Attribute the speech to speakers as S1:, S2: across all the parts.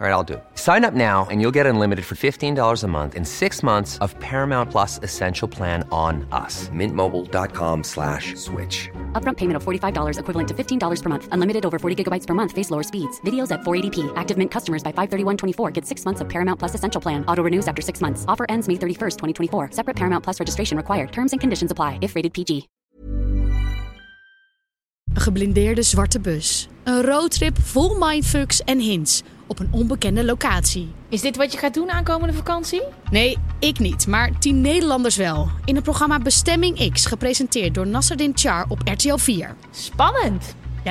S1: All right, I'll do. it. Sign up now and you'll get unlimited for $15 a month in six months of Paramount Plus Essential Plan on us. Mintmobile.com slash switch.
S2: Upfront payment of $45 equivalent to $15 per month. Unlimited over 40 gigabytes per month. Face lower speeds. Videos at 480p. Active Mint customers by 531.24 get six months of Paramount Plus Essential Plan. Auto renews after six months. Offer ends May 31st, 2024. Separate Paramount Plus registration required. Terms and conditions apply if rated PG.
S3: Een geblindeerde zwarte bus. Een roadtrip vol mindfucks en hints op een onbekende locatie.
S4: Is dit wat je gaat doen aankomende vakantie?
S3: Nee, ik niet, maar tien Nederlanders wel. In het programma Bestemming X, gepresenteerd door Nasserdin Char op RTL 4.
S4: Spannend.
S3: Ja,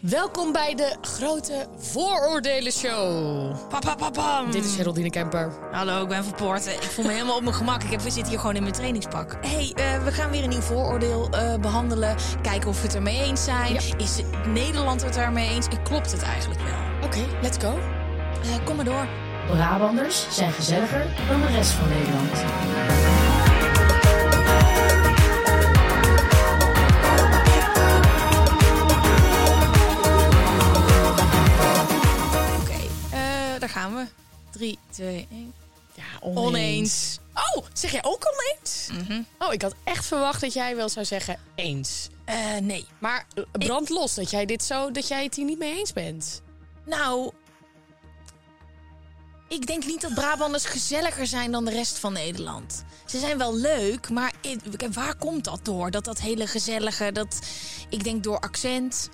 S5: Welkom bij de grote vooroordelenshow.
S6: Pa, pa, pa, pam.
S5: Dit is Geraldine Kemper.
S6: Hallo, ik ben van Poorten. Ik voel me helemaal op mijn gemak. Ik heb, we zitten hier gewoon in mijn trainingspak. hey, eh, we gaan weer een nieuw vooroordeel eh, behandelen. Kijken of we het ermee eens zijn.
S5: Ja.
S6: Is Nederland het ermee eens? En klopt het eigenlijk wel?
S5: Oké, let's go.
S6: Eh, kom maar door.
S7: Brabanders zijn gezelliger dan de rest van Nederland.
S6: Oké, eh, daar gaan we. 3, 2, 1.
S5: Ja,
S6: Oneens.
S5: Oh, zeg jij ook oneens?
S6: Mhm.
S5: Oh, ik had echt verwacht dat jij wel zou zeggen eens.
S6: Eh, nee.
S5: Maar eh, brand los dat jij dit zo, dat jij het hier niet mee eens bent.
S6: Nou, ik denk niet dat Brabanders gezelliger zijn dan de rest van Nederland. Ze zijn wel leuk, maar i- waar komt dat door? Dat dat hele gezellige, dat ik denk door accent.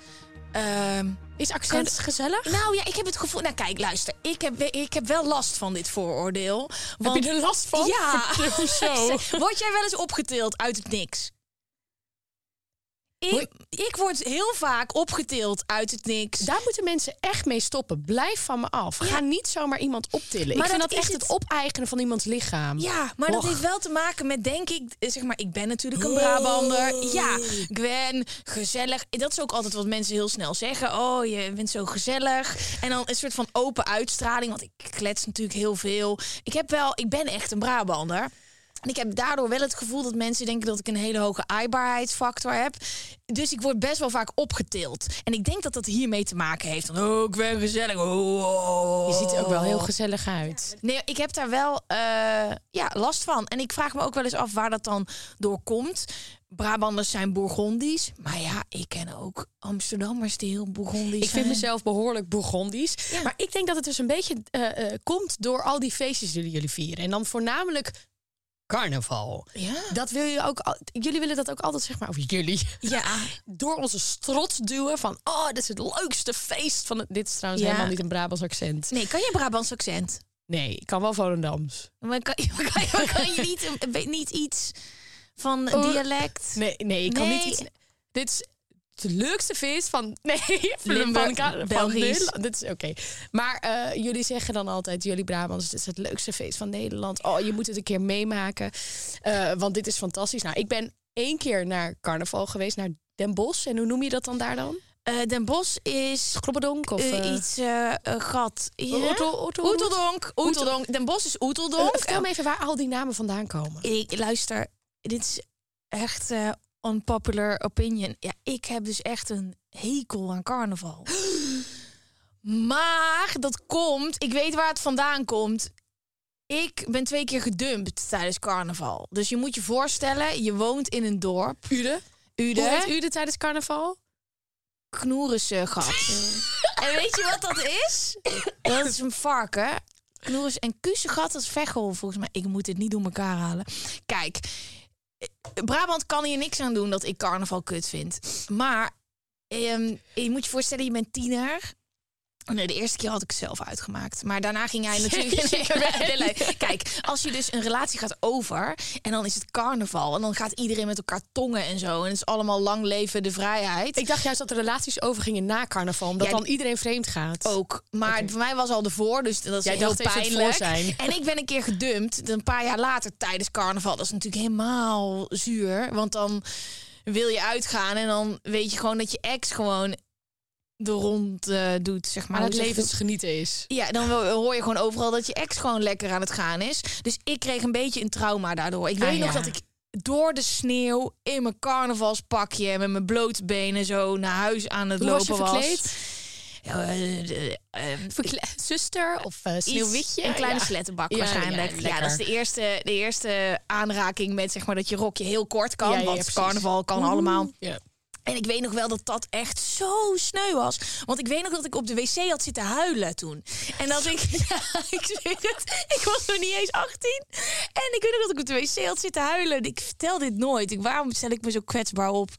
S6: ehm,
S5: Is accent
S6: Kan-
S5: gezellig?
S6: nou ja, ik heb het gevoel. Nou kijk, luister, ik heb, we- ik heb wel last van dit vooroordeel. Want,
S5: Heb je er last van?
S6: Ja.
S5: Hoezo?
S6: Word jij wel eens opgetild uit het niks? Ik, ik word heel vaak opgetild uit het niks.
S5: Daar moeten mensen echt mee stoppen. Blijf van me af. Ga niet zomaar iemand optillen.
S6: Maar
S5: ik vind
S6: dat
S5: dat,
S6: is
S5: echt
S6: het-
S5: het... opeigenen van iemands lichaam.
S6: Ja, maar dat
S5: Och.
S6: heeft wel te maken met, denk ik, eh, zeg maar, ik ben natuurlijk een Brabander. Ja, Gwen, gezellig. Dat is ook altijd wat mensen heel snel zeggen. Oh, je bent zo gezellig. En dan een soort van open uitstraling, want ik klets natuurlijk heel veel. Ik heb wel, ik ben echt een Brabander. En ik heb daardoor wel het gevoel dat mensen denken dat ik een hele hoge aaibaarheidsfactor heb. Dus ik word best wel vaak opgetild. En ik denk dat dat hiermee te maken heeft. Van, oh, ik ben gezellig. Oh.
S5: Je ziet er ook wel heel gezellig uit.
S6: Nee, ik heb daar wel eh, ja, last van. En ik vraag me ook wel eens af waar dat dan door komt. Brabanders zijn Bourgondisch. Maar ja, ik ken ook Amsterdammers die heel Bourgondisch
S5: Ik
S6: zijn.
S5: vind mezelf behoorlijk Bourgondisch. Maar ik denk dat het dus een beetje eh, eh, komt door al die feestjes die jullie vieren. En dan voornamelijk carnaval.
S6: Ja.
S5: Dat wil je ook. al- Jullie willen dat ook altijd, zeg maar, of jullie.
S6: Ja,
S5: Door onze strot duwen van, oh, dit is het leukste feest van het. Dit is trouwens
S6: Ja.
S5: helemaal niet een Brabants accent.
S6: nee, kan je een Brabants accent?
S5: Nee, ik kan wel Volendams.
S6: Maar kan, maar kan, maar kan je niet, een- weet niet iets van
S5: Oh,
S6: dialect?
S5: Nee, nee, ik kan
S6: Nee.
S5: niet iets. Dit is het leukste feest van. Nee, van-
S6: Limburg,
S5: van- van
S6: Belgisch.
S5: Nederland. Dit is oké. Maar eh, jullie zeggen dan altijd, jullie Brabants, dit is het leukste feest van Nederland. Oh, je moet het een keer meemaken, eh, want dit is fantastisch. Nou, ik ben één keer naar carnaval geweest, naar Den Bosch. En hoe noem je dat dan daar dan?
S6: Eh, Den Bosch is
S5: Grobbedonk of
S6: eh,
S5: eh,
S6: iets eh, eh, gat. Ja?
S5: Oetel- Oetel-
S6: Oeteldonk. Oeteldonk. Den Bosch is
S5: Eh,
S6: Oeteldonk.
S5: vertel me even waar al die namen vandaan komen.
S6: Ik luister, dit is echt eh unpopular opinion. Ja, ik heb dus echt een hekel aan carnaval. Maar dat komt, ik weet waar het vandaan komt. Ik ben twee keer gedumpt tijdens carnaval. Dus je moet je voorstellen, je woont in een dorp.
S5: Ude.
S6: Ude,
S5: Hoe heet Ude tijdens carnaval?
S6: knoerense gat. en weet je wat dat is? Dat is een varken. Knoeris en kusengat, dat is vechel volgens mij. Ik moet dit niet door elkaar halen. Kijk, eh, Brabant kan hier niks aan doen dat ik carnaval kut vind. Maar ehm, je moet je voorstellen, je bent tiener. Nee, de eerste keer had ik het zelf uitgemaakt. Maar daarna ging hij natuurlijk... Nee, nee, nee. Kijk, als je dus een relatie gaat over... en dan is het carnaval... en dan gaat iedereen met elkaar tongen en zo... en het is allemaal lang leven de vrijheid.
S5: Ik dacht juist dat de relaties overgingen na carnaval, omdat
S6: Ja,
S5: dan
S6: die-
S5: iedereen vreemd gaat.
S6: ook. Maar voor mij was al de voor, dus dat is
S5: Jij
S6: heel
S5: dacht even het voor
S6: pijnlijk.
S5: zijn.
S6: En ik ben een keer gedumpt, een paar jaar later tijdens carnaval. Dat is natuurlijk helemaal zuur, want dan wil je uitgaan en dan weet je gewoon dat je ex gewoon de rond eh, doet, zeg maar.
S5: Maar het
S6: Hoe zeg je dat?
S5: levensgenieten is.
S6: Ja, dan wil- hoor je gewoon overal dat je ex gewoon lekker aan het gaan is. Dus ik kreeg een beetje een trauma daardoor. Ik weet
S5: Ah,
S6: nog
S5: ja.
S6: dat ik door de sneeuw in mijn carnavalspakje met mijn blote benen zo naar huis aan het
S5: Hoe was je
S6: lopen was.
S5: verkleed?
S6: Ja, eh, eh, eh,
S5: Verkle- zuster of eh,
S6: iets-
S5: sneeuwwitje?
S6: Een kleine
S5: Ja.
S6: slettenbak
S5: Ja,
S6: waarschijnlijk.
S5: ja,
S6: Ja, dat is de
S5: lekker.
S6: eerste, de eerste aanraking met zeg maar dat je rokje heel kort kan.
S5: Ja, ja, ja,
S6: want
S5: precies.
S6: carnaval kan allemaal.
S5: Ja.
S6: En ik weet nog wel dat dat echt zo sneu was. Want ik weet nog dat ik op de wc had zitten huilen toen. En dat ik... Ja, ik zweer het. Ik was nog niet eens 18. En ik weet nog dat ik op de wc had zitten huilen. Ik vertel dit nooit. Ik, waarom stel ik me zo kwetsbaar op?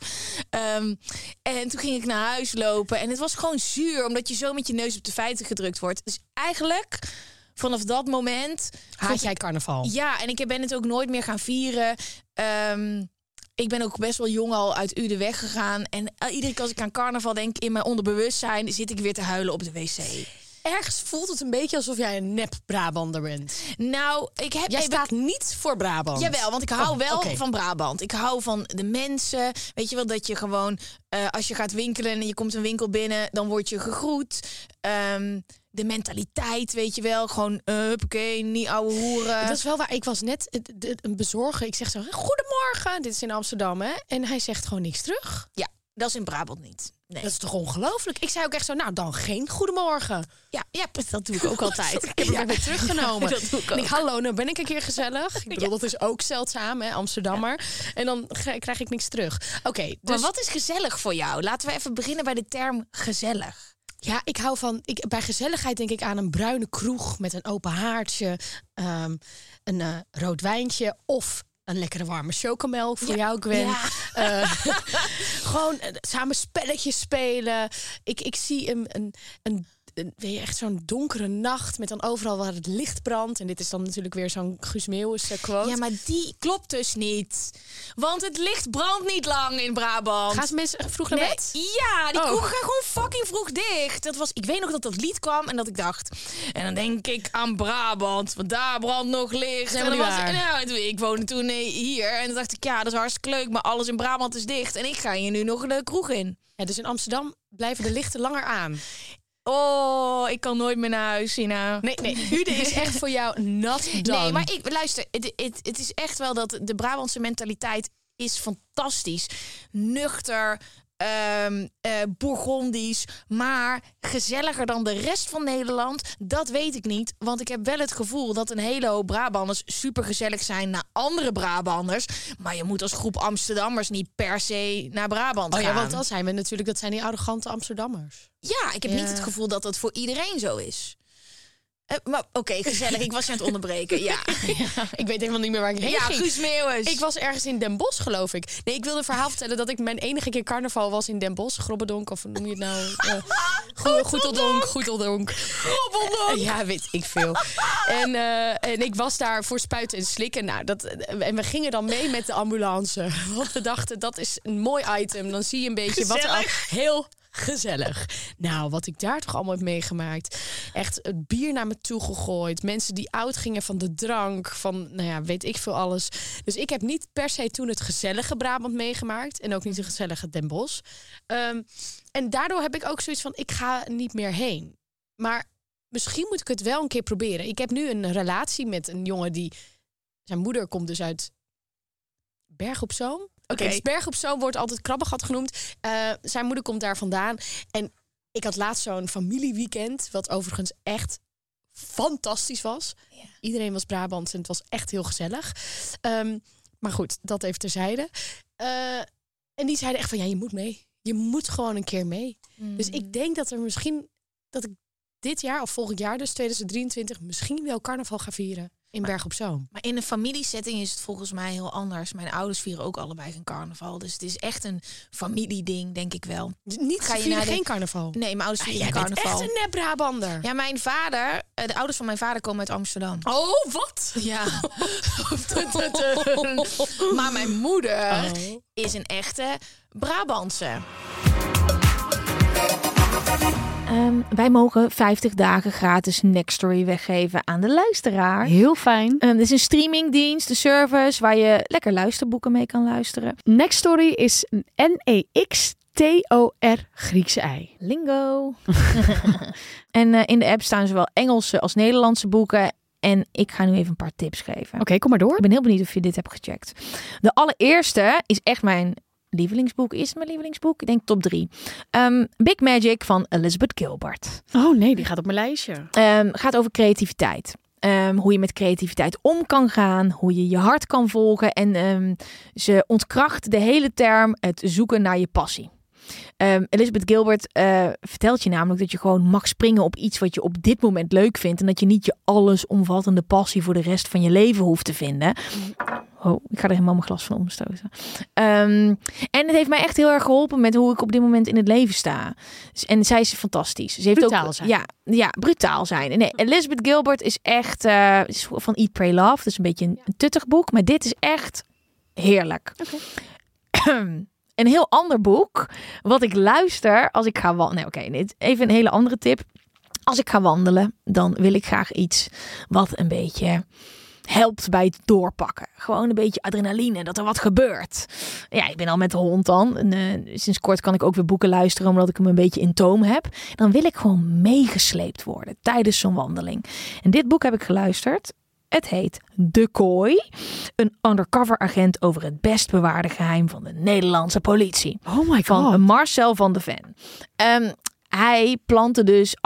S6: Ehm, en toen ging ik naar huis lopen. En het was gewoon zuur. Omdat je zo met je neus op de feiten gedrukt wordt. Dus eigenlijk... Vanaf dat moment
S5: Haat jij carnaval?
S6: ja, en ik ben het ook nooit meer gaan vieren. Ehm, ik ben ook best wel jong al uit Uden weggegaan. En el- iedere keer als ik aan carnaval denk, in mijn onderbewustzijn zit ik weer te huilen op de wc.
S5: Ergens voelt het een beetje alsof jij een nep Brabander bent.
S6: Nou, ik heb.
S5: Jij
S6: ik ben-
S5: staat niet voor Brabant.
S6: Jawel, want ik hou
S5: Oh,
S6: wel
S5: oké.
S6: van Brabant. Ik hou van de mensen. Weet je wel, dat je gewoon eh, als je gaat winkelen en je komt een winkel binnen, dan word je gegroet. Ehm, de mentaliteit, weet je wel. Gewoon, eh huppakee, niet ouwe hoeren.
S5: Dat is wel waar. Ik was net eh, d- d- een bezorger. Ik zeg zo, goedemorgen. Dit is in Amsterdam, hè? En hij zegt gewoon niks terug.
S6: ja, dat is in Brabant niet. Nee.
S5: Dat is toch ongelooflijk? Ik zei ook echt zo, nou dan geen goedemorgen.
S6: Ja, ja, dat doe ik ook altijd.
S5: Ik heb hem ook weer teruggenomen.
S6: Dat doe ik
S5: En
S6: ook.
S5: hallo, nou ben ik een keer gezellig. Ik bedoel, dat is ook zeldzaam, hè, Amsterdammer. En dan ge- krijg ik niks terug. Oké,
S6: Maar
S5: dus
S6: wat is gezellig voor jou? Laten we even beginnen bij de term gezellig.
S5: ja, ik hou van... Ik, bij gezelligheid denk ik aan een bruine kroeg met een open haartje, ehm, een eh, rood wijntje of... Een lekkere warme chocomel voor jou, Gwen.
S6: Ja.
S5: Eh, gewoon eh, samen spelletjes spelen. Ik, ik zie een, een, een, een- weet je, echt zo'n donkere nacht met dan overal waar het licht brandt. En dit is dan natuurlijk weer zo'n Guus Meeuwis eh, quote.
S6: Ja, maar die klopt dus niet. Want het licht brandt niet lang in Brabant.
S5: Gaan ze mensen vroeg naar
S6: Nee,
S5: bed?
S6: Ja, die
S5: Oh.
S6: kroegen gaan gewoon fucking vroeg dicht. Dat was, ik weet nog dat dat lied kwam en dat ik dacht... En dan denk ik aan Brabant, want daar brandt nog licht. En
S5: helemaal
S6: dan
S5: niet
S6: was,
S5: waar.
S6: nou, en toen- ik woonde toen eh, hier en toen dacht ik... Ja, dat is hartstikke leuk, maar alles in Brabant is dicht. En ik ga hier nu nog de kroeg in.
S5: Ja, dus in Amsterdam blijven de lichten langer aan.
S6: Oh, ik kan nooit meer naar huis, Sina.
S5: Nee, nee, Ude is echt voor jou nat dan.
S6: Nee, maar ik, luister, het, het, het is echt wel dat de Brabantse mentaliteit is fantastisch. Nuchter, ehm eh, bourgondisch, maar gezelliger dan de rest van Nederland. Dat weet ik niet, want ik heb wel het gevoel dat een hele hoop Brabanders supergezellig zijn naar andere Brabanders. Maar je moet als groep Amsterdammers niet per se naar Brabant
S5: Oh
S6: gaan.
S5: ja, want dan zijn we natuurlijk, dat zijn die arrogante Amsterdammers.
S6: Ja, ik heb
S5: Ja.
S6: niet het gevoel dat dat voor iedereen zo is. Eh, maar oké, gezellig. Ik was je aan het onderbreken. Ja,
S5: Ik weet helemaal niet meer waar ik heen
S6: ja
S5: ging.
S6: Guus Meeuwis.
S5: Ik was ergens in Den Bosch, geloof ik. Nee, ik wilde een verhaal vertellen dat ik mijn enige keer carnaval was in Den Bosch. Grobbedonk, of hoe noem je het nou? Eh, goe- Goeteldonk, Goeteldonk. Grobbeldonk! ja, weet ik veel. En, eh, en ik was daar voor spuiten en slikken. Nou, dat, en we gingen dan mee met de ambulance. Want we dachten, dat is een mooi item. Dan zie je een beetje wat er al... Heel gezellig. Nou, wat ik daar toch allemaal heb meegemaakt. Echt het bier naar me toe gegooid. Mensen die oud gingen van de drank. Van, nou ja, weet ik veel alles. Dus ik heb niet per se toen het gezellige Brabant meegemaakt. En ook niet de gezellige Den Bosch. Ehm, en daardoor heb ik ook zoiets van, ik ga niet meer heen. Maar misschien moet ik het wel een keer proberen. Ik heb nu een relatie met een jongen die... Zijn moeder komt dus uit Berg op Zoom. Oké, dus Berg op Zoom wordt altijd krabbegat genoemd. Eh, zijn moeder komt daar vandaan. En ik had laatst zo'n familieweekend, wat overigens echt fantastisch was. Iedereen was Brabants en het was echt heel gezellig. Ehm, maar goed, dat even terzijde. Eh, en die zeiden echt van, ja, je moet mee. Je moet gewoon een keer mee. Dus ik denk dat er misschien, dat ik dit jaar of volgend jaar, dus 2023, misschien wel carnaval ga vieren. in Berg op Zoom.
S6: Maar in een familiesetting is het volgens mij heel anders. Mijn ouders vieren ook allebei geen carnaval. Dus het is echt een familieding, denk ik wel.
S5: Niet,
S6: Ga
S5: ga
S6: je
S5: je
S6: naar de-
S5: geen carnaval?
S6: Nee, mijn ouders vieren
S5: Jij
S6: geen
S5: bent
S6: carnaval.
S5: echt een nep Brabander.
S6: Ja, mijn vader, eh, de ouders van mijn vader komen uit Amsterdam.
S5: Oh, wat?
S6: Ja. maar mijn moeder is een echte Brabantse.
S4: Ehm, wij mogen 50 dagen gratis Nextory weggeven aan de luisteraar.
S8: Heel fijn.
S4: Ehm, dit is een streamingdienst, een service waar je lekker luisterboeken mee kan luisteren.
S8: Next Story is een
S3: E
S8: N-E-X-T-O-R Griekse ei.
S4: Lingo. en eh, in de app staan zowel Engelse als Nederlandse boeken. En ik ga nu even een paar tips geven.
S8: Oké, kom maar door.
S4: Ik ben heel benieuwd of je dit hebt gecheckt. De allereerste is echt mijn lievelingsboek. Is het mijn lievelingsboek? Ik denk top drie. Ehm, Big Magic van Elizabeth Gilbert.
S8: Oh nee, die gaat op mijn lijstje.
S4: Ehm, gaat over creativiteit. Ehm, hoe je met creativiteit om kan gaan, hoe je je hart kan volgen. En ehm, ze ontkracht de hele term het zoeken naar je passie. Ehm, Elizabeth Gilbert eh, vertelt je namelijk dat je gewoon mag springen op iets wat je op dit moment leuk vindt. En dat je niet je allesomvattende passie voor de rest van je leven hoeft te vinden. Oh, ik ga er helemaal mijn glas van omstoten. Ehm, en het heeft mij echt heel erg geholpen met hoe ik op dit moment in het leven sta. Dus- En zij is fantastisch. Ze heeft
S8: Brutaal
S4: ook,
S8: zijn.
S4: Ja, ja, brutaal zijn. Nee, Elizabeth Gilbert is echt eh, is van Eat, Pray, Love. Dus een beetje een, een tuttig boek. Maar dit is echt heerlijk. een heel ander boek wat ik luister als ik ga wandelen. Nee, oké, dit- even een hele andere tip. Als ik ga wandelen, dan wil ik graag iets wat een beetje helpt bij het doorpakken. Gewoon een beetje adrenaline, dat er wat gebeurt. Ja, ik ben al met de hond dan. En, eh, sinds kort kan ik ook weer boeken luisteren, omdat ik hem een beetje in toom heb. Dan wil ik gewoon meegesleept worden tijdens zo'n wandeling. En dit boek heb ik geluisterd. Het heet De Kooi. Een undercover agent over het best bewaarde geheim van de Nederlandse politie
S8: Oh my
S4: van
S8: god.
S4: Marcel van de Ven. Ehm, hij plantte dus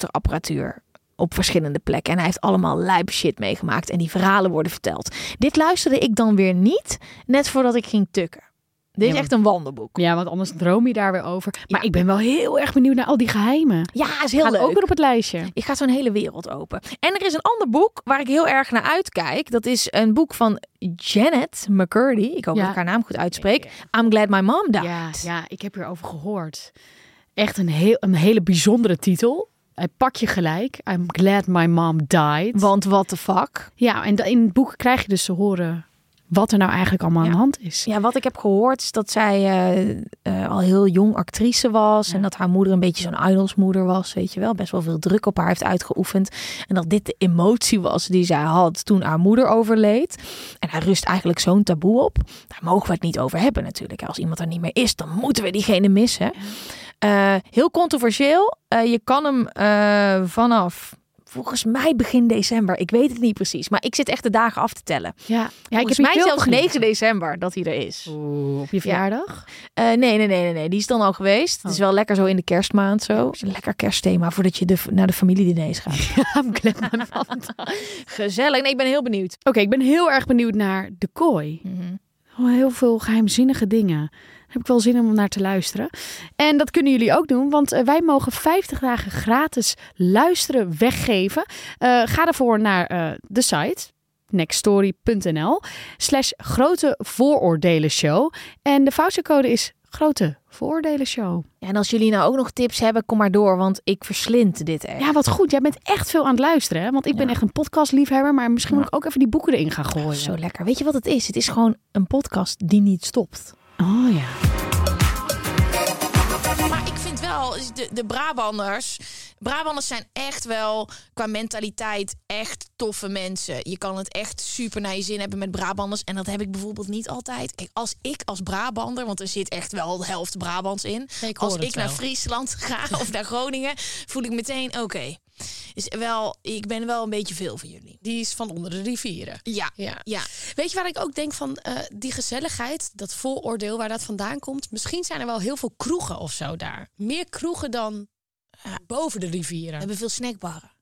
S4: afluisterapparatuur op verschillende plekken. En hij heeft allemaal lijp shit meegemaakt. En die verhalen worden verteld. Dit luisterde ik dan weer niet, net voordat ik ging tukken. Dit is
S8: Ja,
S4: echt een wandelboek.
S8: Ja, want anders droom je daar weer over. Maar ik ben wel heel erg benieuwd naar al die geheimen.
S4: Ja, is heel
S8: Gaat
S4: leuk.
S8: ook weer op het lijstje.
S4: Ik ga zo'n hele wereld open. En er is een ander boek waar ik heel erg naar uitkijk. Dat is een boek van Janet McCurdy. Ik hoop
S8: Ja.
S4: dat ik haar naam goed uitspreek. I'm Glad My Mom Died.
S8: Ja, ja, ik heb hierover gehoord. Echt een, heel, een hele bijzondere titel. Hij pak je gelijk. I'm glad my mom died.
S4: Want what the fuck?
S8: ja, en da- in het boek krijg je dus te horen wat er nou eigenlijk allemaal
S4: Ja.
S8: aan de hand is.
S4: Ja, wat ik heb gehoord is dat zij eh, eh, al heel jong actrice was. En dat haar moeder een beetje zo'n idolsmoeder was, weet je wel. Best wel veel druk op haar heeft uitgeoefend. En dat dit de emotie was die zij had toen haar moeder overleed. En daar rust eigenlijk zo'n taboe op. Daar mogen we het niet over hebben natuurlijk. Als iemand er niet meer is, dan moeten we diegene missen. Eh, heel controversieel. Eh, je kan hem eh, vanaf... Volgens mij begin december. Ik weet het niet precies. Maar ik zit echt de dagen af te tellen.
S8: Ja, ja ik
S4: Volgens
S8: heb
S4: mij zelfs 9 december dat hij er is.
S8: Oeh, op je verjaardag?
S4: Eh, nee, nee, nee, nee, nee. Die is dan al geweest. Het is wel lekker zo in de kerstmaand zo. Is een lekker kerstthema voordat je de, naar de familiediners gaat.
S8: I'm glad my mom died. Oké,
S4: Gezellig. Nee, ik ben heel benieuwd.
S8: ik ben heel erg benieuwd naar de kooi. Oh, heel veel geheimzinnige dingen. Daar heb ik wel zin om naar te luisteren. En dat kunnen jullie ook doen, want eh, wij mogen 50 dagen gratis luisteren weggeven. Eh, ga daarvoor naar eh, de site nextstory.nl slash grote vooroordelen show. En de vouchercode is grote vooroordelen show.
S4: Ja, en als jullie nou ook nog tips hebben, kom maar door. Want ik verslind dit echt.
S8: Ja, wat goed. Jij bent echt veel aan het luisteren, hè? Want ik ben echt een podcastliefhebber, maar misschien moet ik ook even die boeken erin gaan gooien.
S4: zo lekker. Weet je wat het is? Het is gewoon een podcast die niet stopt.
S8: Oh ja.
S6: Maar ik vind wel, de, de Brabanders... Brabanders zijn echt wel qua mentaliteit echt toffe mensen. Je kan het echt super naar je zin hebben met Brabanders. En dat heb ik bijvoorbeeld niet altijd. Kijk, als ik als Brabander, want er zit echt wel de helft Brabants in.
S5: Ik hoor
S6: als
S5: het
S6: ik naar
S5: wel.
S6: Friesland ga of naar Groningen, voel ik meteen, oké. Is wel, ik ben wel een beetje veel voor jullie.
S5: Die is van onder de rivieren.
S6: Ja,
S5: Ja.
S6: ja.
S5: Weet je waar ik ook denk van eh, die gezelligheid, dat vooroordeel waar dat vandaan komt? Misschien zijn er wel heel veel kroegen of zo daar. Meer kroegen dan eh, boven de rivieren.
S6: We hebben veel snackbarren.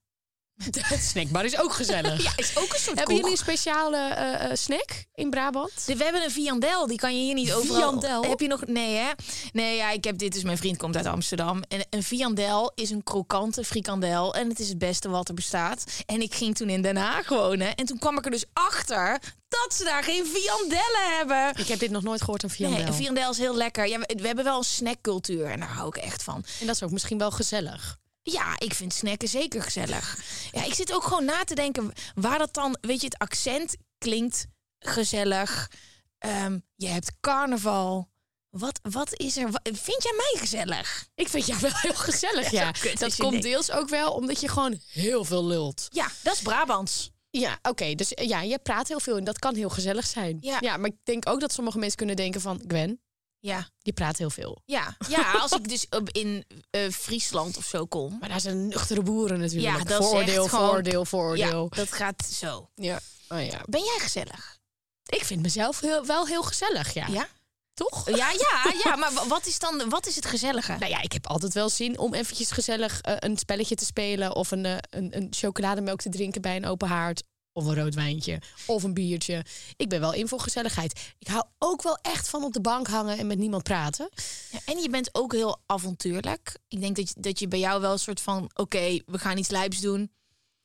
S5: De snackbar is ook gezellig.
S6: Ja, is ook een soort
S5: Hebben jullie
S6: koek.
S5: een speciale eh, eh, snack in Brabant?
S6: We hebben een viandel, die kan je hier niet overal...
S5: Viandel?
S6: Heb je nog... Nee, hè? Nee, ja, ik heb dit dus... Mijn vriend komt uit Amsterdam. En een viandel is een krokante frikandel. En het is het beste wat er bestaat. En ik ging toen in Den Haag wonen. En toen kwam ik er dus achter dat ze daar geen viandellen hebben.
S5: Ik heb dit nog nooit gehoord, een viandel.
S6: Nee, een viandel is heel lekker. Ja, we, we hebben wel een snackcultuur. En daar hou ik echt van.
S5: En dat is ook misschien wel gezellig.
S6: Ja, ik vind snacken zeker gezellig. Ja, ik zit ook gewoon na te denken waar dat dan, weet je, het accent klinkt gezellig. Ehm, je hebt carnaval. Wat, wat is er? wa- vind jij mij gezellig?
S5: Ik vind jou wel heel gezellig, ja.
S6: zo kut
S5: dat
S6: als je
S5: komt
S6: denkt.
S5: deels ook wel omdat je gewoon heel veel lult.
S6: Ja, dat is Brabants.
S5: Ja, oké. dus eh, ja, je praat heel veel en dat kan heel gezellig zijn.
S6: Ja.
S5: maar ik denk ook dat sommige mensen kunnen denken van... Gwen,
S6: Ja,
S5: je praat heel veel.
S6: ja, ja. Als ik dus op- in eh, Friesland of zo kom.
S5: Maar daar zijn nuchtere boeren natuurlijk.
S6: Ja, dat is
S5: voordeel,
S6: echt gewoon-
S5: voordeel, voordeel.
S6: Ja, dat gaat zo.
S5: Ja. Oh, ja.
S6: Ben jij gezellig?
S5: Ik vind mezelf heel- wel heel gezellig, ja.
S6: Ja?
S5: Toch?
S6: Ja, ja, ja. Maar wa- wat is dan, wat is het gezellige?
S5: Nou ja, ik heb altijd wel zin om eventjes gezellig eh, een spelletje te spelen... of een, eh, een, een chocolademelk te drinken bij een open haard... Of een rood wijntje. Of een biertje. Ik ben wel in voor gezelligheid. Ik hou ook wel echt van op de bank hangen en met niemand praten.
S6: Ja, en je bent ook heel avontuurlijk. Ik denk dat je, dat je bij jou wel een soort van... oké, we gaan iets lijps doen.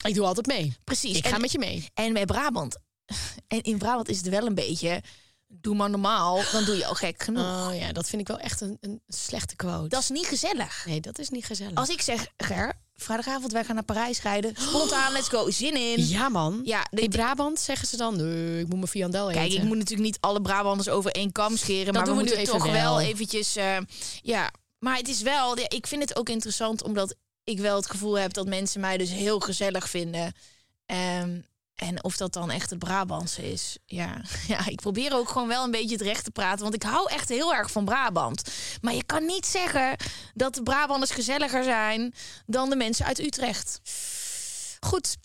S5: Ik doe altijd mee.
S6: Precies.
S5: Ik
S6: en,
S5: ga met je mee.
S6: en bij Brabant... En in Brabant is het wel een beetje... doe maar normaal, dan doe je al gek genoeg.
S5: Oh ja, dat vind ik wel echt een, een slechte quote.
S6: Dat is niet gezellig.
S5: Nee, dat is niet gezellig.
S6: Als ik zeg, Ger, vrijdagavond wij gaan naar Parijs rijden. Spontaan, let's go, zin in.
S5: Ja man.
S6: Ja,
S5: In
S6: dit-
S5: Brabant zeggen ze dan, nee, ik moet mijn viandel eten.
S6: Kijk, ik moet natuurlijk niet alle Brabanders over één kam scheren. maar
S5: doen
S6: we,
S5: we nu
S6: moeten
S5: even
S6: toch wel,
S5: wel.
S6: eventjes... eh, ja, maar het is wel... ja, ik vind het ook interessant omdat ik wel het gevoel heb... dat mensen mij dus heel gezellig vinden. Ehm, en of dat dan echt het Brabantse is. Ja. ja, ik probeer ook gewoon wel een beetje het recht te praten. Want ik hou echt heel erg van Brabant. Maar je kan niet zeggen dat de Brabanders gezelliger zijn... dan de mensen uit Utrecht.
S5: Goed,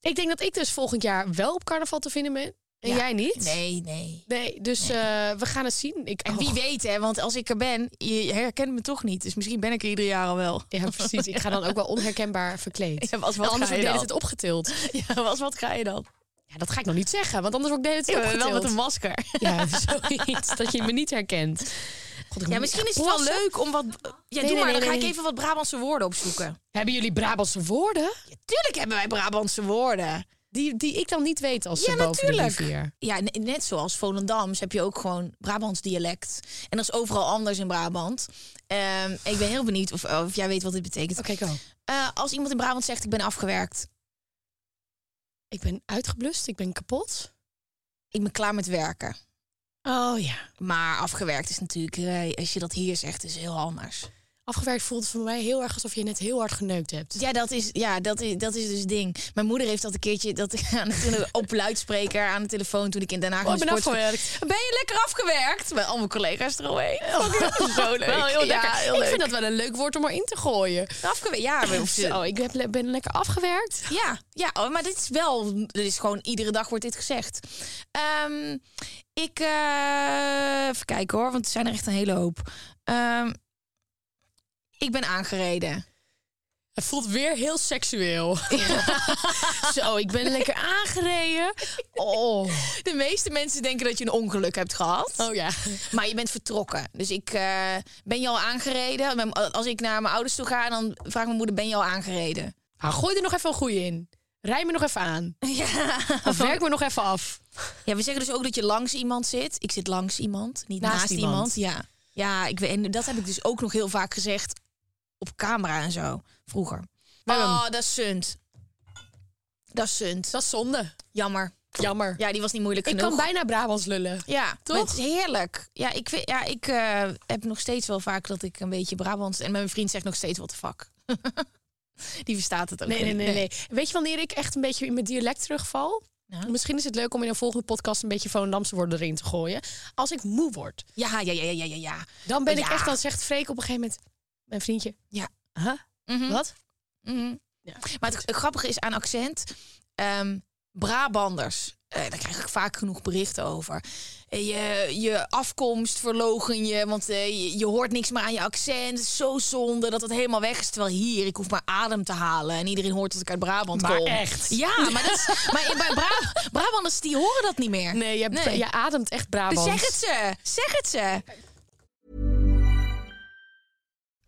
S5: ik denk dat ik dus volgend jaar wel op carnaval te vinden ben. En
S6: Ja.
S5: jij niet?
S6: Nee, nee.
S5: Nee, dus eh, we gaan het zien. Ik, Oh.
S6: En wie weet, hè, want als ik er ben, je herkent me toch niet. Dus misschien ben ik er ieder jaar al wel.
S5: Ja, precies. Ik ga dan ook wel onherkenbaar verkleed.
S6: Ja, was,
S5: Want
S6: wat
S5: anders
S6: ga je
S5: wordt de
S6: dan?
S5: hele tijd opgetild.
S6: Ja, was, wat ga je dan?
S5: Ja, dat ga ik nog niet zeggen, want anders word ik de hele tijd
S6: Ja,
S5: opgetild.
S6: wel met een masker.
S5: Ja, zoiets. dat je me niet herkent. God, ik moet
S6: Ja, misschien is
S5: echt
S6: het wel
S5: plassen.
S6: leuk om wat... eh, Ja,
S5: nee,
S6: doe maar,
S5: nee,
S6: dan ga ik
S5: nee.
S6: even wat Brabantse woorden opzoeken.
S5: Hebben jullie Brabantse woorden?
S6: Tuurlijk hebben wij Brabantse woorden.
S5: Die, die ik dan niet weet als ze
S6: Ja,
S5: boven
S6: natuurlijk.
S5: de rivier.
S6: Ja, ne- net zoals Volendams heb je ook gewoon Brabants dialect. En dat is overal anders in Brabant. Ehm, ik ben heel benieuwd of, of jij weet wat dit betekent.
S5: Oké, go.
S6: Eh, als iemand in Brabant zegt, ik ben afgewerkt.
S5: Ik ben uitgeblust, ik ben kapot.
S6: Ik ben klaar met werken.
S5: Oh ja.
S6: Maar afgewerkt is natuurlijk, eh, als je dat hier zegt, is heel anders.
S5: Afgewerkt voelt voor mij heel erg alsof je net heel hard geneukt hebt.
S6: Ja, dat is, ja, dat is, dat is dus het ding. Mijn moeder heeft dat een keertje dat ik aan, toen op luidspreker aan de telefoon toen ik in Den Haag
S5: Oh, ik
S6: in de
S5: ben
S6: sportschool-
S5: afgewerkt.
S6: Ben je lekker afgewerkt? Met al mijn collega's eromheen. Zo leuk.
S5: Wel heel lekker.
S6: Ja, heel
S5: Oh, ik Eh.
S6: leuk.
S5: vind dat wel een leuk woord om erin te gooien.
S6: afgewerkt. Ja, we- of-
S5: Zo, ik heb le- ben lekker afgewerkt.
S6: ja, ja oh, maar dit is wel, dit is gewoon iedere dag wordt dit gezegd. Ehm, ik eh, even kijken hoor, want er zijn er echt een hele hoop. Ehm, ik ben aangereden.
S5: Het voelt weer heel seksueel. Zo, ik ben lekker aangereden. Oh,
S6: De meeste mensen denken dat je een ongeluk hebt gehad.
S5: oh ja.
S6: Maar je bent vertrokken. Dus ik eh, ben je al aangereden. Mijn- Als ik naar mijn ouders toe ga, dan vraagt mijn moeder: ben je al aangereden?
S5: Nou, gooi er nog even een goeie in. Rij me nog even aan.
S6: Ja.
S5: Of werk me nog even af.
S6: ja, we zeggen dus ook dat je langs iemand zit. Ik zit langs iemand, niet naast,
S5: Naast
S6: iemand.
S5: iemand.
S6: Ja, ja ik, weet- en dat heb ik dus ook nog heel vaak gezegd op camera en zo vroeger.
S5: hebben
S6: Oh, dat is sunt. Dat is sunt.
S5: Dat is zonde.
S6: Jammer.
S5: Jammer.
S6: Ja, die was niet moeilijk
S5: ik
S6: genoeg.
S5: kan bijna Brabants lullen.
S6: Ja,
S5: Toch?
S6: maar Het is heerlijk. Ja, ik, vind- ja, ik eh, heb nog steeds wel vaak dat ik een beetje Brabants... En mijn vriend zegt nog steeds wat de fuck. Die verstaat het ook
S5: Nee, nee,
S6: niet.
S5: nee, nee. Weet je wanneer ik echt een beetje in mijn dialect terugval?
S6: Nou?
S5: Misschien is het leuk om in een volgende podcast een beetje Volendamse woorden erin te gooien. Als ik moe word,
S6: Ja, ja, ja, ja, ja, ja.
S5: dan ben ik
S6: Ja.
S5: echt, dan zegt Freek op een gegeven moment, mijn vriendje.
S6: Ja.
S5: Huh?
S6: Mhm.
S5: Wat?
S6: Mhm.
S5: Ja.
S6: Maar het, het grappige is aan accent... ehm, Brabanders eh, daar krijg ik vaak genoeg berichten over. Eh, Je, je afkomst verlogen je, want eh, je, je hoort niks meer aan je accent. Het is Zo zonde dat het helemaal weg is. Terwijl hier, ik hoef maar adem te halen. En iedereen hoort dat ik uit Brabant
S5: Maar
S6: kom.
S5: echt?
S6: Ja, maar, dat is, maar in- bij Bra- Brabanders die horen dat niet meer.
S5: Nee, je, hebt-
S6: Nee.
S5: je ademt echt Brabant.
S6: Dus zeg het ze. Zeg het ze.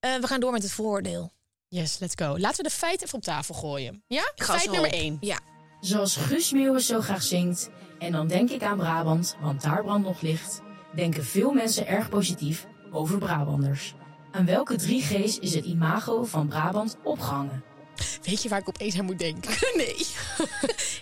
S6: Eh, we gaan door met het vooroordeel.
S5: Yes, let's go. Laten we de feiten even op tafel gooien. Ja?
S6: Gas
S5: Feit
S6: erop.
S5: nummer één.
S6: Ja.
S7: Zoals Guus Meeuwis zo graag zingt. En dan denk ik aan Brabant, want daar brandt nog licht. Denken veel mensen erg positief over Brabanders. Aan welke drie G's is het imago van Brabant opgehangen?
S5: Weet je waar ik opeens aan moet denken? Nee.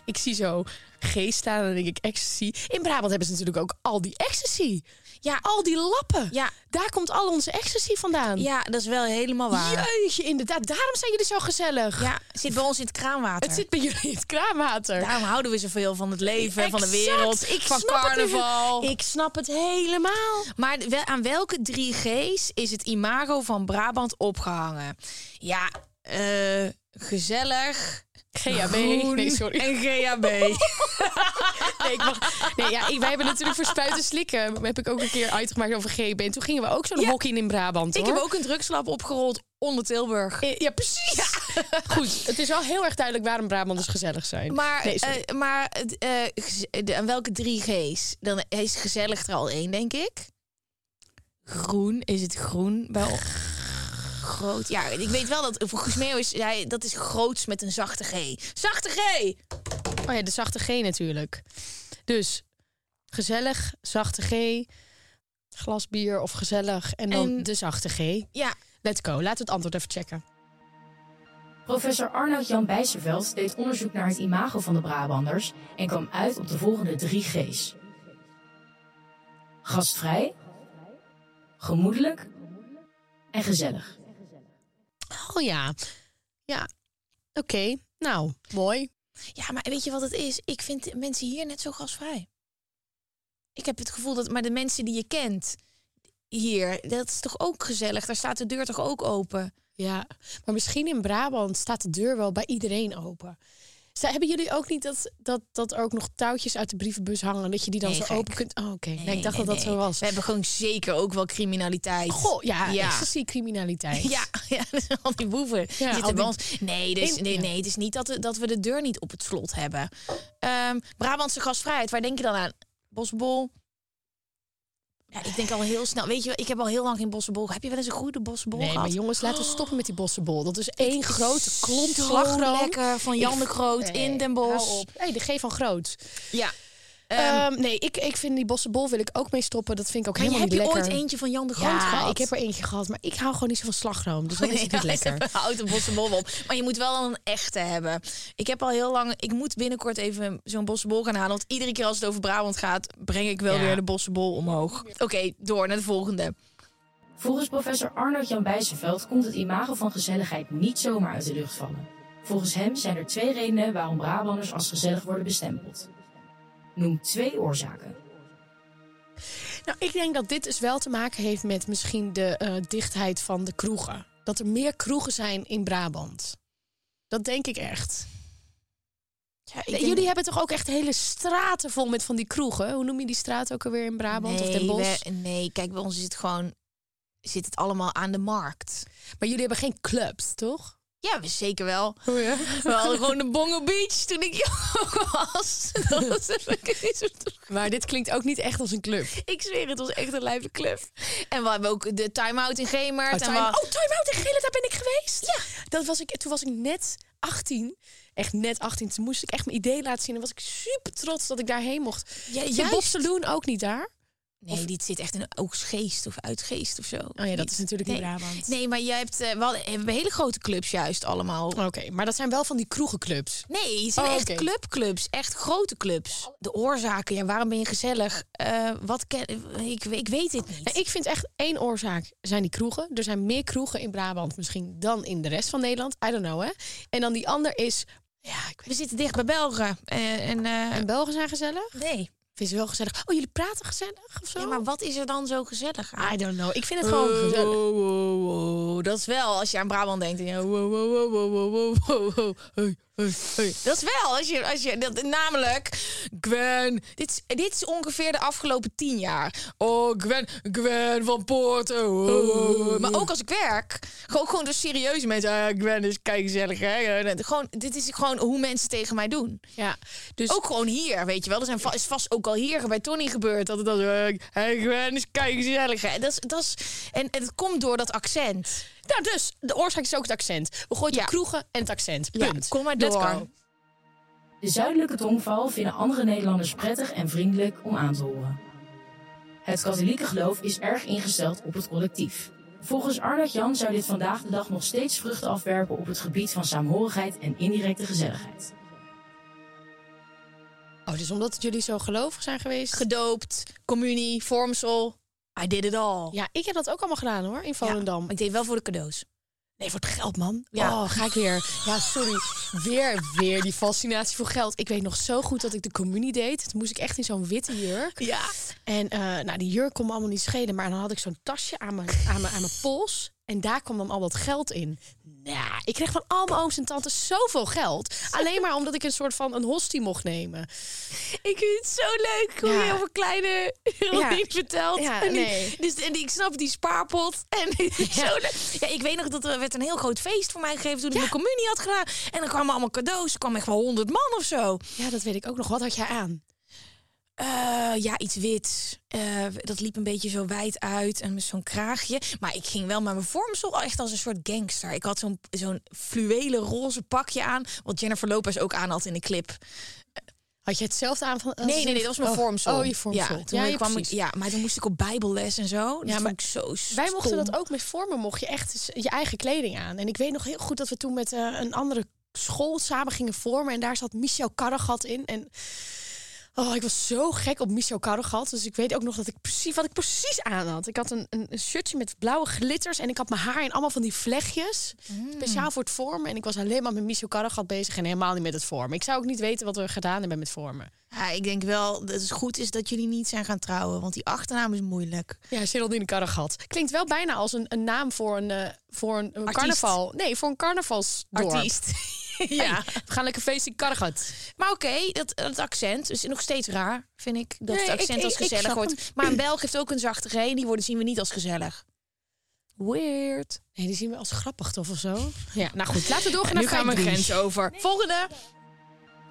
S5: ik zie zo geest staan en dan denk ik ecstasy. In Brabant hebben ze natuurlijk ook al die ecstasy. Ja, al die lappen.
S6: Ja.
S5: Daar komt al onze ecstasy vandaan.
S6: ja, dat is wel helemaal waar.
S5: Jeetje, inderdaad. Daarom zijn jullie zo gezellig.
S6: Ja, het zit bij ons in het kraanwater.
S5: Het zit bij jullie in het kraanwater.
S6: Daarom houden we zoveel van het leven, van de
S5: Exact.
S6: wereld,
S5: Ik
S6: van
S5: snap het nu.
S6: carnaval.
S5: Ik snap het helemaal.
S6: Maar wel- aan welke 3G's is het imago van Brabant opgehangen? Ja, eh, gezellig.
S5: GHB.
S6: groen
S5: Nee, sorry.
S6: En GHB.
S5: Nee, ik mag- nee ja, ik- wij hebben natuurlijk voor spuiten slikken. eh, Heb ik ook een keer uitgemaakt over GB. En toen gingen we ook zo'n
S6: Ja.
S5: hockey in in Brabant.
S6: ik
S5: hoor.
S6: heb ook een drugslab opgerold onder Tilburg.
S5: Eh, Ja, precies. Goed, het is wel heel erg duidelijk waarom Brabanders gezellig zijn.
S6: Maar,
S5: Nee, sorry.
S6: eh, maar eh, eh, gez- de- aan welke 3G's? Dan is gezellig er al één, denk ik. Groen, is het groen wel groot? Ja, ik weet wel dat voor Gusmeo is hij, dat is groots met een zachte G. Zachte G!
S5: oh ja, de zachte G natuurlijk. Dus gezellig, zachte G, glas bier of gezellig en dan
S6: En-
S5: de zachte G.
S6: Ja,
S5: Let's go, laten we het antwoord even checken.
S7: Professor Arnoud-Jan Bijsterveld deed onderzoek naar het imago van de Brabanders en kwam uit op de volgende drie G's. Gastvrij, gemoedelijk en gezellig.
S5: Oh ja, ja,
S6: eh,
S5: oké, nou, mooi.
S6: ja, maar weet je wat het is? Ik vind de mensen hier net zo gasvrij. Ik heb het gevoel dat, maar de mensen die je kent hier, dat is toch ook gezellig? Daar staat de deur toch ook open?
S5: Ja, maar misschien in Brabant staat de deur wel bij iedereen open. Zij- Hebben jullie ook niet dat, dat, dat er ook nog touwtjes uit de brievenbus hangen... dat je die dan
S6: Nee,
S5: zo
S6: gek.
S5: open kunt... Oh, oké. Nee, ik dacht
S6: nee,
S5: dat
S6: nee.
S5: dat zo was.
S6: We hebben gewoon zeker ook wel criminaliteit.
S5: Goh, ja,
S6: Ja.
S5: ecstasy-criminaliteit.
S6: Ja, ja, al die boeven zitten bij
S5: al die-
S6: ons. Nee, dus,
S5: In-
S6: nee,
S5: ja.
S6: nee, het is niet dat, dat we de deur niet op het slot hebben. Ehm, Brabantse gastvrijheid, waar denk je dan aan? Bossenbol? Ja, ik denk al heel snel. Weet je, wel, ik heb al heel lang geen bossenbol. Heb je wel eens een goede bossenbol
S5: Nee,
S6: gehad?
S5: maar jongens, laten we stoppen met die bossenbol. Dat is één
S6: is
S5: grote klomp
S6: zo
S5: slagroom.
S6: lekker van Jan
S5: Ik-
S6: de Groot
S5: Nee,
S6: in Den Bosch.
S5: hou op. Hey, de G van Groot.
S6: Ja.
S5: Ehm, nee, ik, ik vind die bossenbol wil ik ook mee stoppen. Dat vind ik ook
S6: maar je-
S5: helemaal
S6: heb
S5: niet
S6: je
S5: lekker.
S6: ooit eentje van Jan de Groot
S5: ja,
S6: gehad?
S5: ik heb er eentje gehad, maar ik hou gewoon niet zo van slagroom. Dus dan is het niet lekker.
S6: Houd een bossenbol op. Maar je moet wel een echte hebben. Ik heb al heel lang... Ik moet binnenkort even zo'n bossenbol gaan halen. Want iedere keer als het over Brabant gaat... breng ik wel
S5: Ja.
S6: weer de bossenbol omhoog. Oké, door naar de volgende.
S7: Volgens professor Arnoud-Jan Bijsterveld komt het imago van gezelligheid niet zomaar uit de lucht vallen. Volgens hem zijn er twee redenen waarom Brabanders als gezellig worden bestempeld. Noem twee oorzaken.
S5: Nou, ik denk dat dit dus wel te maken heeft met misschien de eh, dichtheid van de kroegen. Dat er meer kroegen zijn in Brabant. Dat denk ik echt. Jullie hebben toch ook echt hele straten vol met van die kroegen? Hoe noem je die straat ook alweer in Brabant of Den Bosch?
S6: we- nee, kijk, bij ons is het gewoon... Zit het allemaal aan de markt.
S5: Maar jullie hebben geen clubs, toch?
S6: Ja, we zeker wel. We hadden gewoon de Bongo Beach toen ik jong was. Dat was even-
S5: Maar dit klinkt ook niet echt als een club.
S6: Ik zweer, het was echt een lijpe club. En we hebben ook de time-out in Gemert.
S5: Oh,
S6: en
S5: time,
S6: we-
S5: oh, Time Out in Gele, daar ben ik geweest. Ja. Dat was ik, toen was ik net 18. Echt net 18. Toen moest ik echt mijn idee laten zien. En was ik super trots dat ik daarheen mocht.
S6: Ja,
S5: Zit
S6: juist.
S5: Bob Saloon ook niet daar?
S6: Nee, dit zit echt in een oogstgeest of uitgeest of zo.
S5: Oh ja, dat is natuurlijk
S6: nee.
S5: in Brabant.
S6: Nee, maar jij hebt, eh, wel, we hebben hele grote clubs juist allemaal.
S5: Oké, maar dat zijn wel van die kroegenclubs.
S6: Nee, het zijn
S5: Oh,
S6: echt
S5: oké.
S6: clubclubs, echt grote clubs. De oorzaken, ja, waarom ben je gezellig? Eh, wat ken, ik, ik weet het niet.
S5: Nou, ik vind echt één oorzaak zijn die kroegen. Er zijn meer kroegen in Brabant misschien dan in de rest van Nederland. I don't know, hè. En dan die ander is... Ja, ik
S6: we
S5: weet
S6: zitten dicht bij Belgen. Eh, en, eh,
S5: En Belgen zijn gezellig.
S6: nee.
S5: Vind ze wel gezellig. Oh, jullie praten gezellig of zo?
S6: Ja, maar wat is er dan zo gezellig aan?
S5: I don't know. Ik vind het gewoon
S6: Oh,
S5: gezellig.
S6: oh, oh, oh. Dat is wel als je aan Brabant denkt. Ja, wow, wow, wow, wow, wow, wow, wow. Hey, hey, hey. Dat is wel als je, als je dat, namelijk Gwen. Dit is, dit is ongeveer de afgelopen tien jaar. Oh, Gwen, Gwen van Poorten. Wow, wow, wow. Maar ook als ik werk, gewoon, gewoon dus serieuze mensen. Ah, Gwen is kijk gezellig. Hè? Eh, Gewoon, dit is gewoon hoe mensen tegen mij doen.
S5: Ja, dus...
S6: Ook gewoon hier, weet je wel. Er zijn va- is vast ook al hier bij Tony gebeurd. Dat het dan zo... eh, Hey, Gwen, is kijk gezellig. hè. Dat is, dat is, en, en het komt door dat accent.
S5: Nou, dus, de oorzaak is ook het accent. We gooien
S6: Ja.
S5: de kroegen en het accent.
S6: Ja,
S5: Punt.
S6: kom maar
S5: Let's
S6: door.
S5: go.
S7: De zuidelijke tongval vinden andere Nederlanders prettig en vriendelijk om aan te horen. Het katholieke geloof is erg ingesteld op het collectief. Volgens Arnold Jan zou dit vandaag de dag nog steeds vruchten afwerpen op het gebied van saamhorigheid en indirecte gezelligheid.
S5: Oh, dus omdat jullie zo gelovig zijn geweest...
S6: Gedoopt, communie, vormsel. I did it all.
S5: ja, ik heb dat ook allemaal gedaan, hoor, in Volendam.
S6: Maar ik deed wel voor de cadeaus.
S5: Nee, voor het geld, man.
S6: Ja.
S5: Oh, ga ik weer. Ja, sorry. Weer, weer die fascinatie voor geld. Ik weet nog zo goed dat ik de communie deed. Toen moest ik echt in zo'n witte jurk.
S6: Ja.
S5: En eh, nou, die jurk kon me allemaal niet schelen. Maar dan had ik zo'n tasje aan mijn, aan, mijn, aan mijn pols. En daar kwam dan al dat geld in. Nou, ik kreeg van al mijn ooms en tantes zoveel geld. Alleen maar omdat ik een soort van een hostie mocht nemen.
S6: Ik vind het zo leuk hoe
S5: Ja.
S6: je over kleine Geraldine vertelt.
S5: Ja,
S6: en die-
S5: nee.
S6: dus, en die- ik snap die spaarpot. En ja. zo leuk. Ja, ik weet nog dat er werd een heel groot feest voor mij gegeven toen ik mijn communie had gedaan. En dan kwamen allemaal cadeaus. Er kwam echt wel honderd man of zo.
S5: Ja, dat weet ik ook nog. Wat had jij aan?
S6: Eh, ja, iets wit. Eh, dat liep een beetje zo wijd uit en met zo'n kraagje. Maar ik ging wel met mijn vormsel echt als een soort gangster. Ik had zo'n zo'n fluwelen roze pakje aan. Wat Jennifer Lopez ook aan had in de clip.
S5: Had je hetzelfde aan? Van,
S6: Nee, nee, nee, dat was mijn
S5: oh,
S6: vormsel.
S5: Oh, je vormsel.
S6: Ja, toen
S5: Ja,
S6: ik
S5: ja,
S6: kwam ik,
S5: precies.
S6: ja, maar toen moest ik op bijbelles en zo. Dat
S5: Ja, maar
S6: vond ik zo stom.
S5: Wij mochten dat ook met vormen, mocht je echt s- je eigen kleding aan. En ik weet nog heel goed dat we toen met eh, een andere school samen gingen vormen. En daar zat Michel Karregat in. En oh, ik was zo gek op Michel Karregat. Dus ik weet ook nog dat ik precies, wat ik precies aan had. Ik had een, een een shirtje met blauwe glitters. En ik had mijn haar in allemaal van die vlechtjes.
S6: Mm.
S5: Speciaal voor het vormen. En ik was alleen maar met Michel Karregat bezig. En helemaal niet met het vormen. Ik zou ook niet weten wat we gedaan hebben met vormen.
S6: Ja, ik denk wel dat het goed is dat jullie niet zijn gaan trouwen. Want die achternaam is moeilijk.
S5: Ja, Geraldine Karregat. Klinkt wel bijna als een, een naam voor een, eh, voor een, een
S6: Artiest.
S5: carnaval. Nee, voor een carnavalsdorp.
S6: Artiest.
S5: Ja,
S6: ja.
S5: we gaan lekker feest in Kargat.
S6: Maar oké, dat, dat accent is nog steeds raar, vind ik. Dat
S5: Nee,
S6: het
S5: ik-
S6: accent
S5: ik-
S6: als
S5: ik
S6: gezellig
S5: snap
S6: wordt. Maar een Belg heeft ook een zachte G. en Die worden zien we niet als gezellig. Weird.
S5: Nee, die zien we als grappig toch of zo? Ja, nou goed, laten we doorgaan naar
S6: gaan we
S5: feit drie.
S6: grens over. Volgende.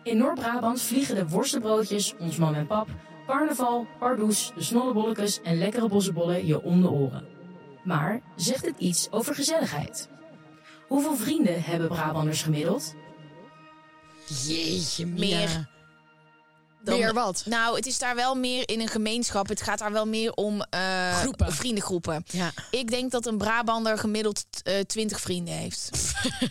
S7: In Noord-Brabant vliegen de worstenbroodjes, ons mam en pap, carnaval, pardoes, de snollebollekes en lekkere bossenbollen je om de oren. Maar zegt het iets over gezelligheid? Hoeveel vrienden hebben Brabanders gemiddeld?
S5: Jeetje,
S6: Meer. Dan-
S5: Meer wat?
S6: Nou, het is daar wel meer in een gemeenschap. Het gaat daar wel meer om eh,
S5: Groepen.
S6: vriendengroepen.
S5: Ja.
S6: Ik denk dat een Brabander gemiddeld eh 20 vrienden heeft.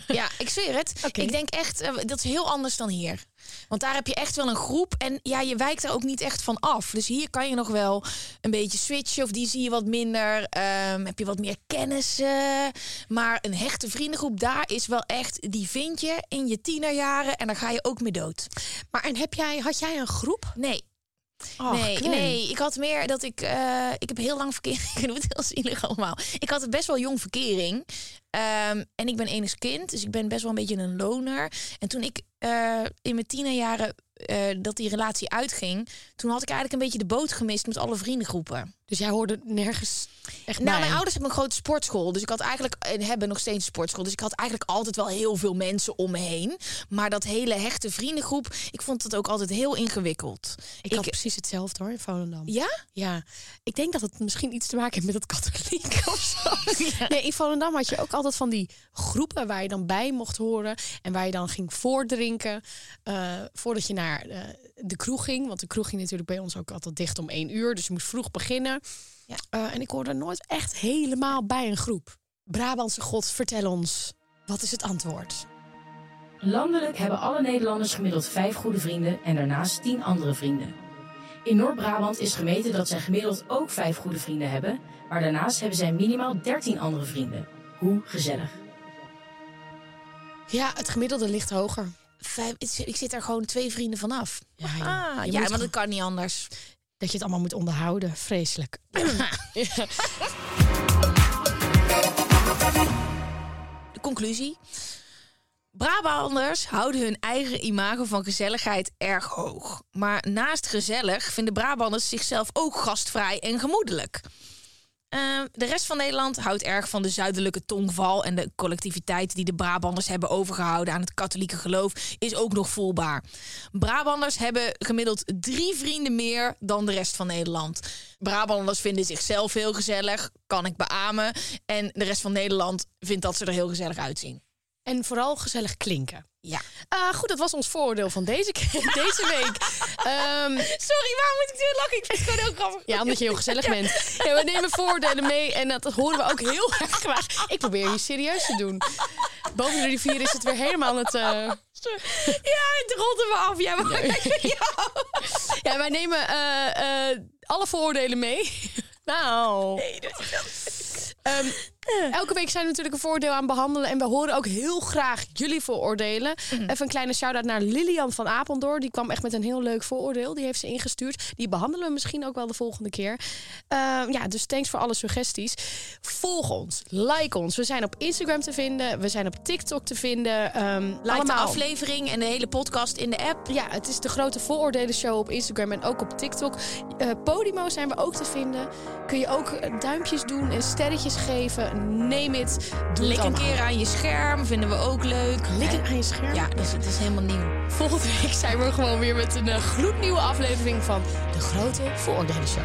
S6: ja, ik zweer het.
S5: Oké.
S6: Ik denk echt, eh, dat is heel anders dan hier. Want daar heb je echt wel een groep en ja, je wijkt er ook niet echt van af. Dus hier kan je nog wel een beetje switchen of die zie je wat minder. ehm, heb je wat meer kennis. maar een hechte vriendengroep daar is wel echt, die vind je in je tienerjaren en daar ga je ook mee dood.
S5: Maar en heb jij, had jij een groep?
S6: Nee,
S5: Oh,
S6: nee,
S5: Gwen.
S6: nee, ik had meer dat ik... eh, ik heb heel lang verkering. Ik noem het heel zielig allemaal. Ik had best wel jong verkering. Ehm, en ik ben enig kind, dus ik ben best wel een beetje een loner. En toen ik eh, in mijn tienerjaren eh, dat die relatie uitging... toen had ik eigenlijk een beetje de boot gemist met alle vriendengroepen.
S5: Dus jij hoorde nergens echt
S6: Nou,
S5: bij.
S6: mijn ouders hebben een grote sportschool. Dus ik had eigenlijk, en hebben nog steeds een sportschool. Dus ik had eigenlijk altijd wel heel veel mensen om me heen. Maar dat hele hechte vriendengroep, ik vond het ook altijd heel ingewikkeld.
S5: Ik had precies hetzelfde hoor in Volendam.
S6: Ja?
S5: Ja, ik denk dat het misschien iets te maken heeft met het katholiek of zo. Nee, in Volendam had je ook altijd van die groepen waar je dan bij mocht horen. En waar je dan ging voordrinken. eh, voordat je naar eh, de kroeg ging. Want de kroeg ging natuurlijk bij ons ook altijd dicht om één uur. Dus je moest vroeg beginnen.
S6: Ja.
S5: Eh, en ik hoorde nooit echt helemaal bij een groep. Brabantse God, vertel ons. Wat is het antwoord?
S7: Landelijk hebben alle Nederlanders gemiddeld vijf goede vrienden en daarnaast tien andere vrienden. In Noord-Brabant is gemeten dat zij gemiddeld ook vijf goede vrienden hebben, maar daarnaast hebben zij minimaal dertien andere vrienden. Hoe gezellig.
S5: Ja, het gemiddelde ligt hoger.
S6: Vijf, ik zit- ik zit daar gewoon twee vrienden vanaf.
S5: Ja, joh.
S6: Ah,
S5: Je
S6: ja,
S5: moet
S6: want het kan niet anders.
S5: Dat je het allemaal moet onderhouden. Vreselijk.
S6: De conclusie. Brabanders houden hun eigen imago van gezelligheid erg hoog. Maar naast gezellig vinden Brabanders zichzelf ook gastvrij en gemoedelijk. Eh, de rest van Nederland houdt erg van de zuidelijke tongval... en de collectiviteit die de Brabanders hebben overgehouden aan het katholieke geloof... is ook nog voelbaar. Brabanders hebben gemiddeld drie vrienden meer dan de rest van Nederland. Brabanders vinden zichzelf heel gezellig, kan ik beamen. En de rest van Nederland vindt dat ze er heel gezellig uitzien.
S5: En vooral gezellig klinken.
S6: Ja.
S5: Eh, goed, dat was ons vooroordeel van deze, keer- deze week. Ehm,
S6: Sorry, waarom moet ik zo lachen? Ik vind het gewoon heel grappig.
S5: ja, omdat je heel gezellig bent. Ja, we nemen vooroordelen mee en dat horen we ook heel erg graag. Ik probeer je serieus te doen. Boven de rivier is het weer helemaal het... eh,
S6: Ja, het rolde me af. Ja, maar...
S5: Ja, wij nemen eh, eh, alle vooroordelen mee. Nou... Ehm, elke week zijn we natuurlijk een voordeel aan het behandelen. En we horen ook heel graag jullie vooroordelen. Even een kleine shout-out naar Lilian van Apeldoorn. Die kwam echt met een heel leuk vooroordeel. Die heeft ze ingestuurd. Die behandelen we misschien ook wel de volgende keer. Ehm, ja, dus thanks voor alle suggesties. Volg ons. Like ons. We zijn op Instagram te vinden. We zijn op TikTok te vinden. Ehm like
S6: Like de aflevering en de hele podcast in de app.
S5: ja, het is de grote vooroordelen show op Instagram en ook op TikTok. Eh, Podimo zijn we ook te vinden. Kun je ook eh, duimpjes doen en sterretjes geven. Neem het. Doe
S6: Lik
S5: het
S6: een
S5: allemaal.
S6: keer aan je scherm, vinden we ook leuk.
S5: Likken aan je scherm.
S6: Ja, dus het is helemaal nieuw.
S5: Volgende week zijn we er gewoon weer met een eh, gloednieuwe aflevering van de grote vooroordelen show.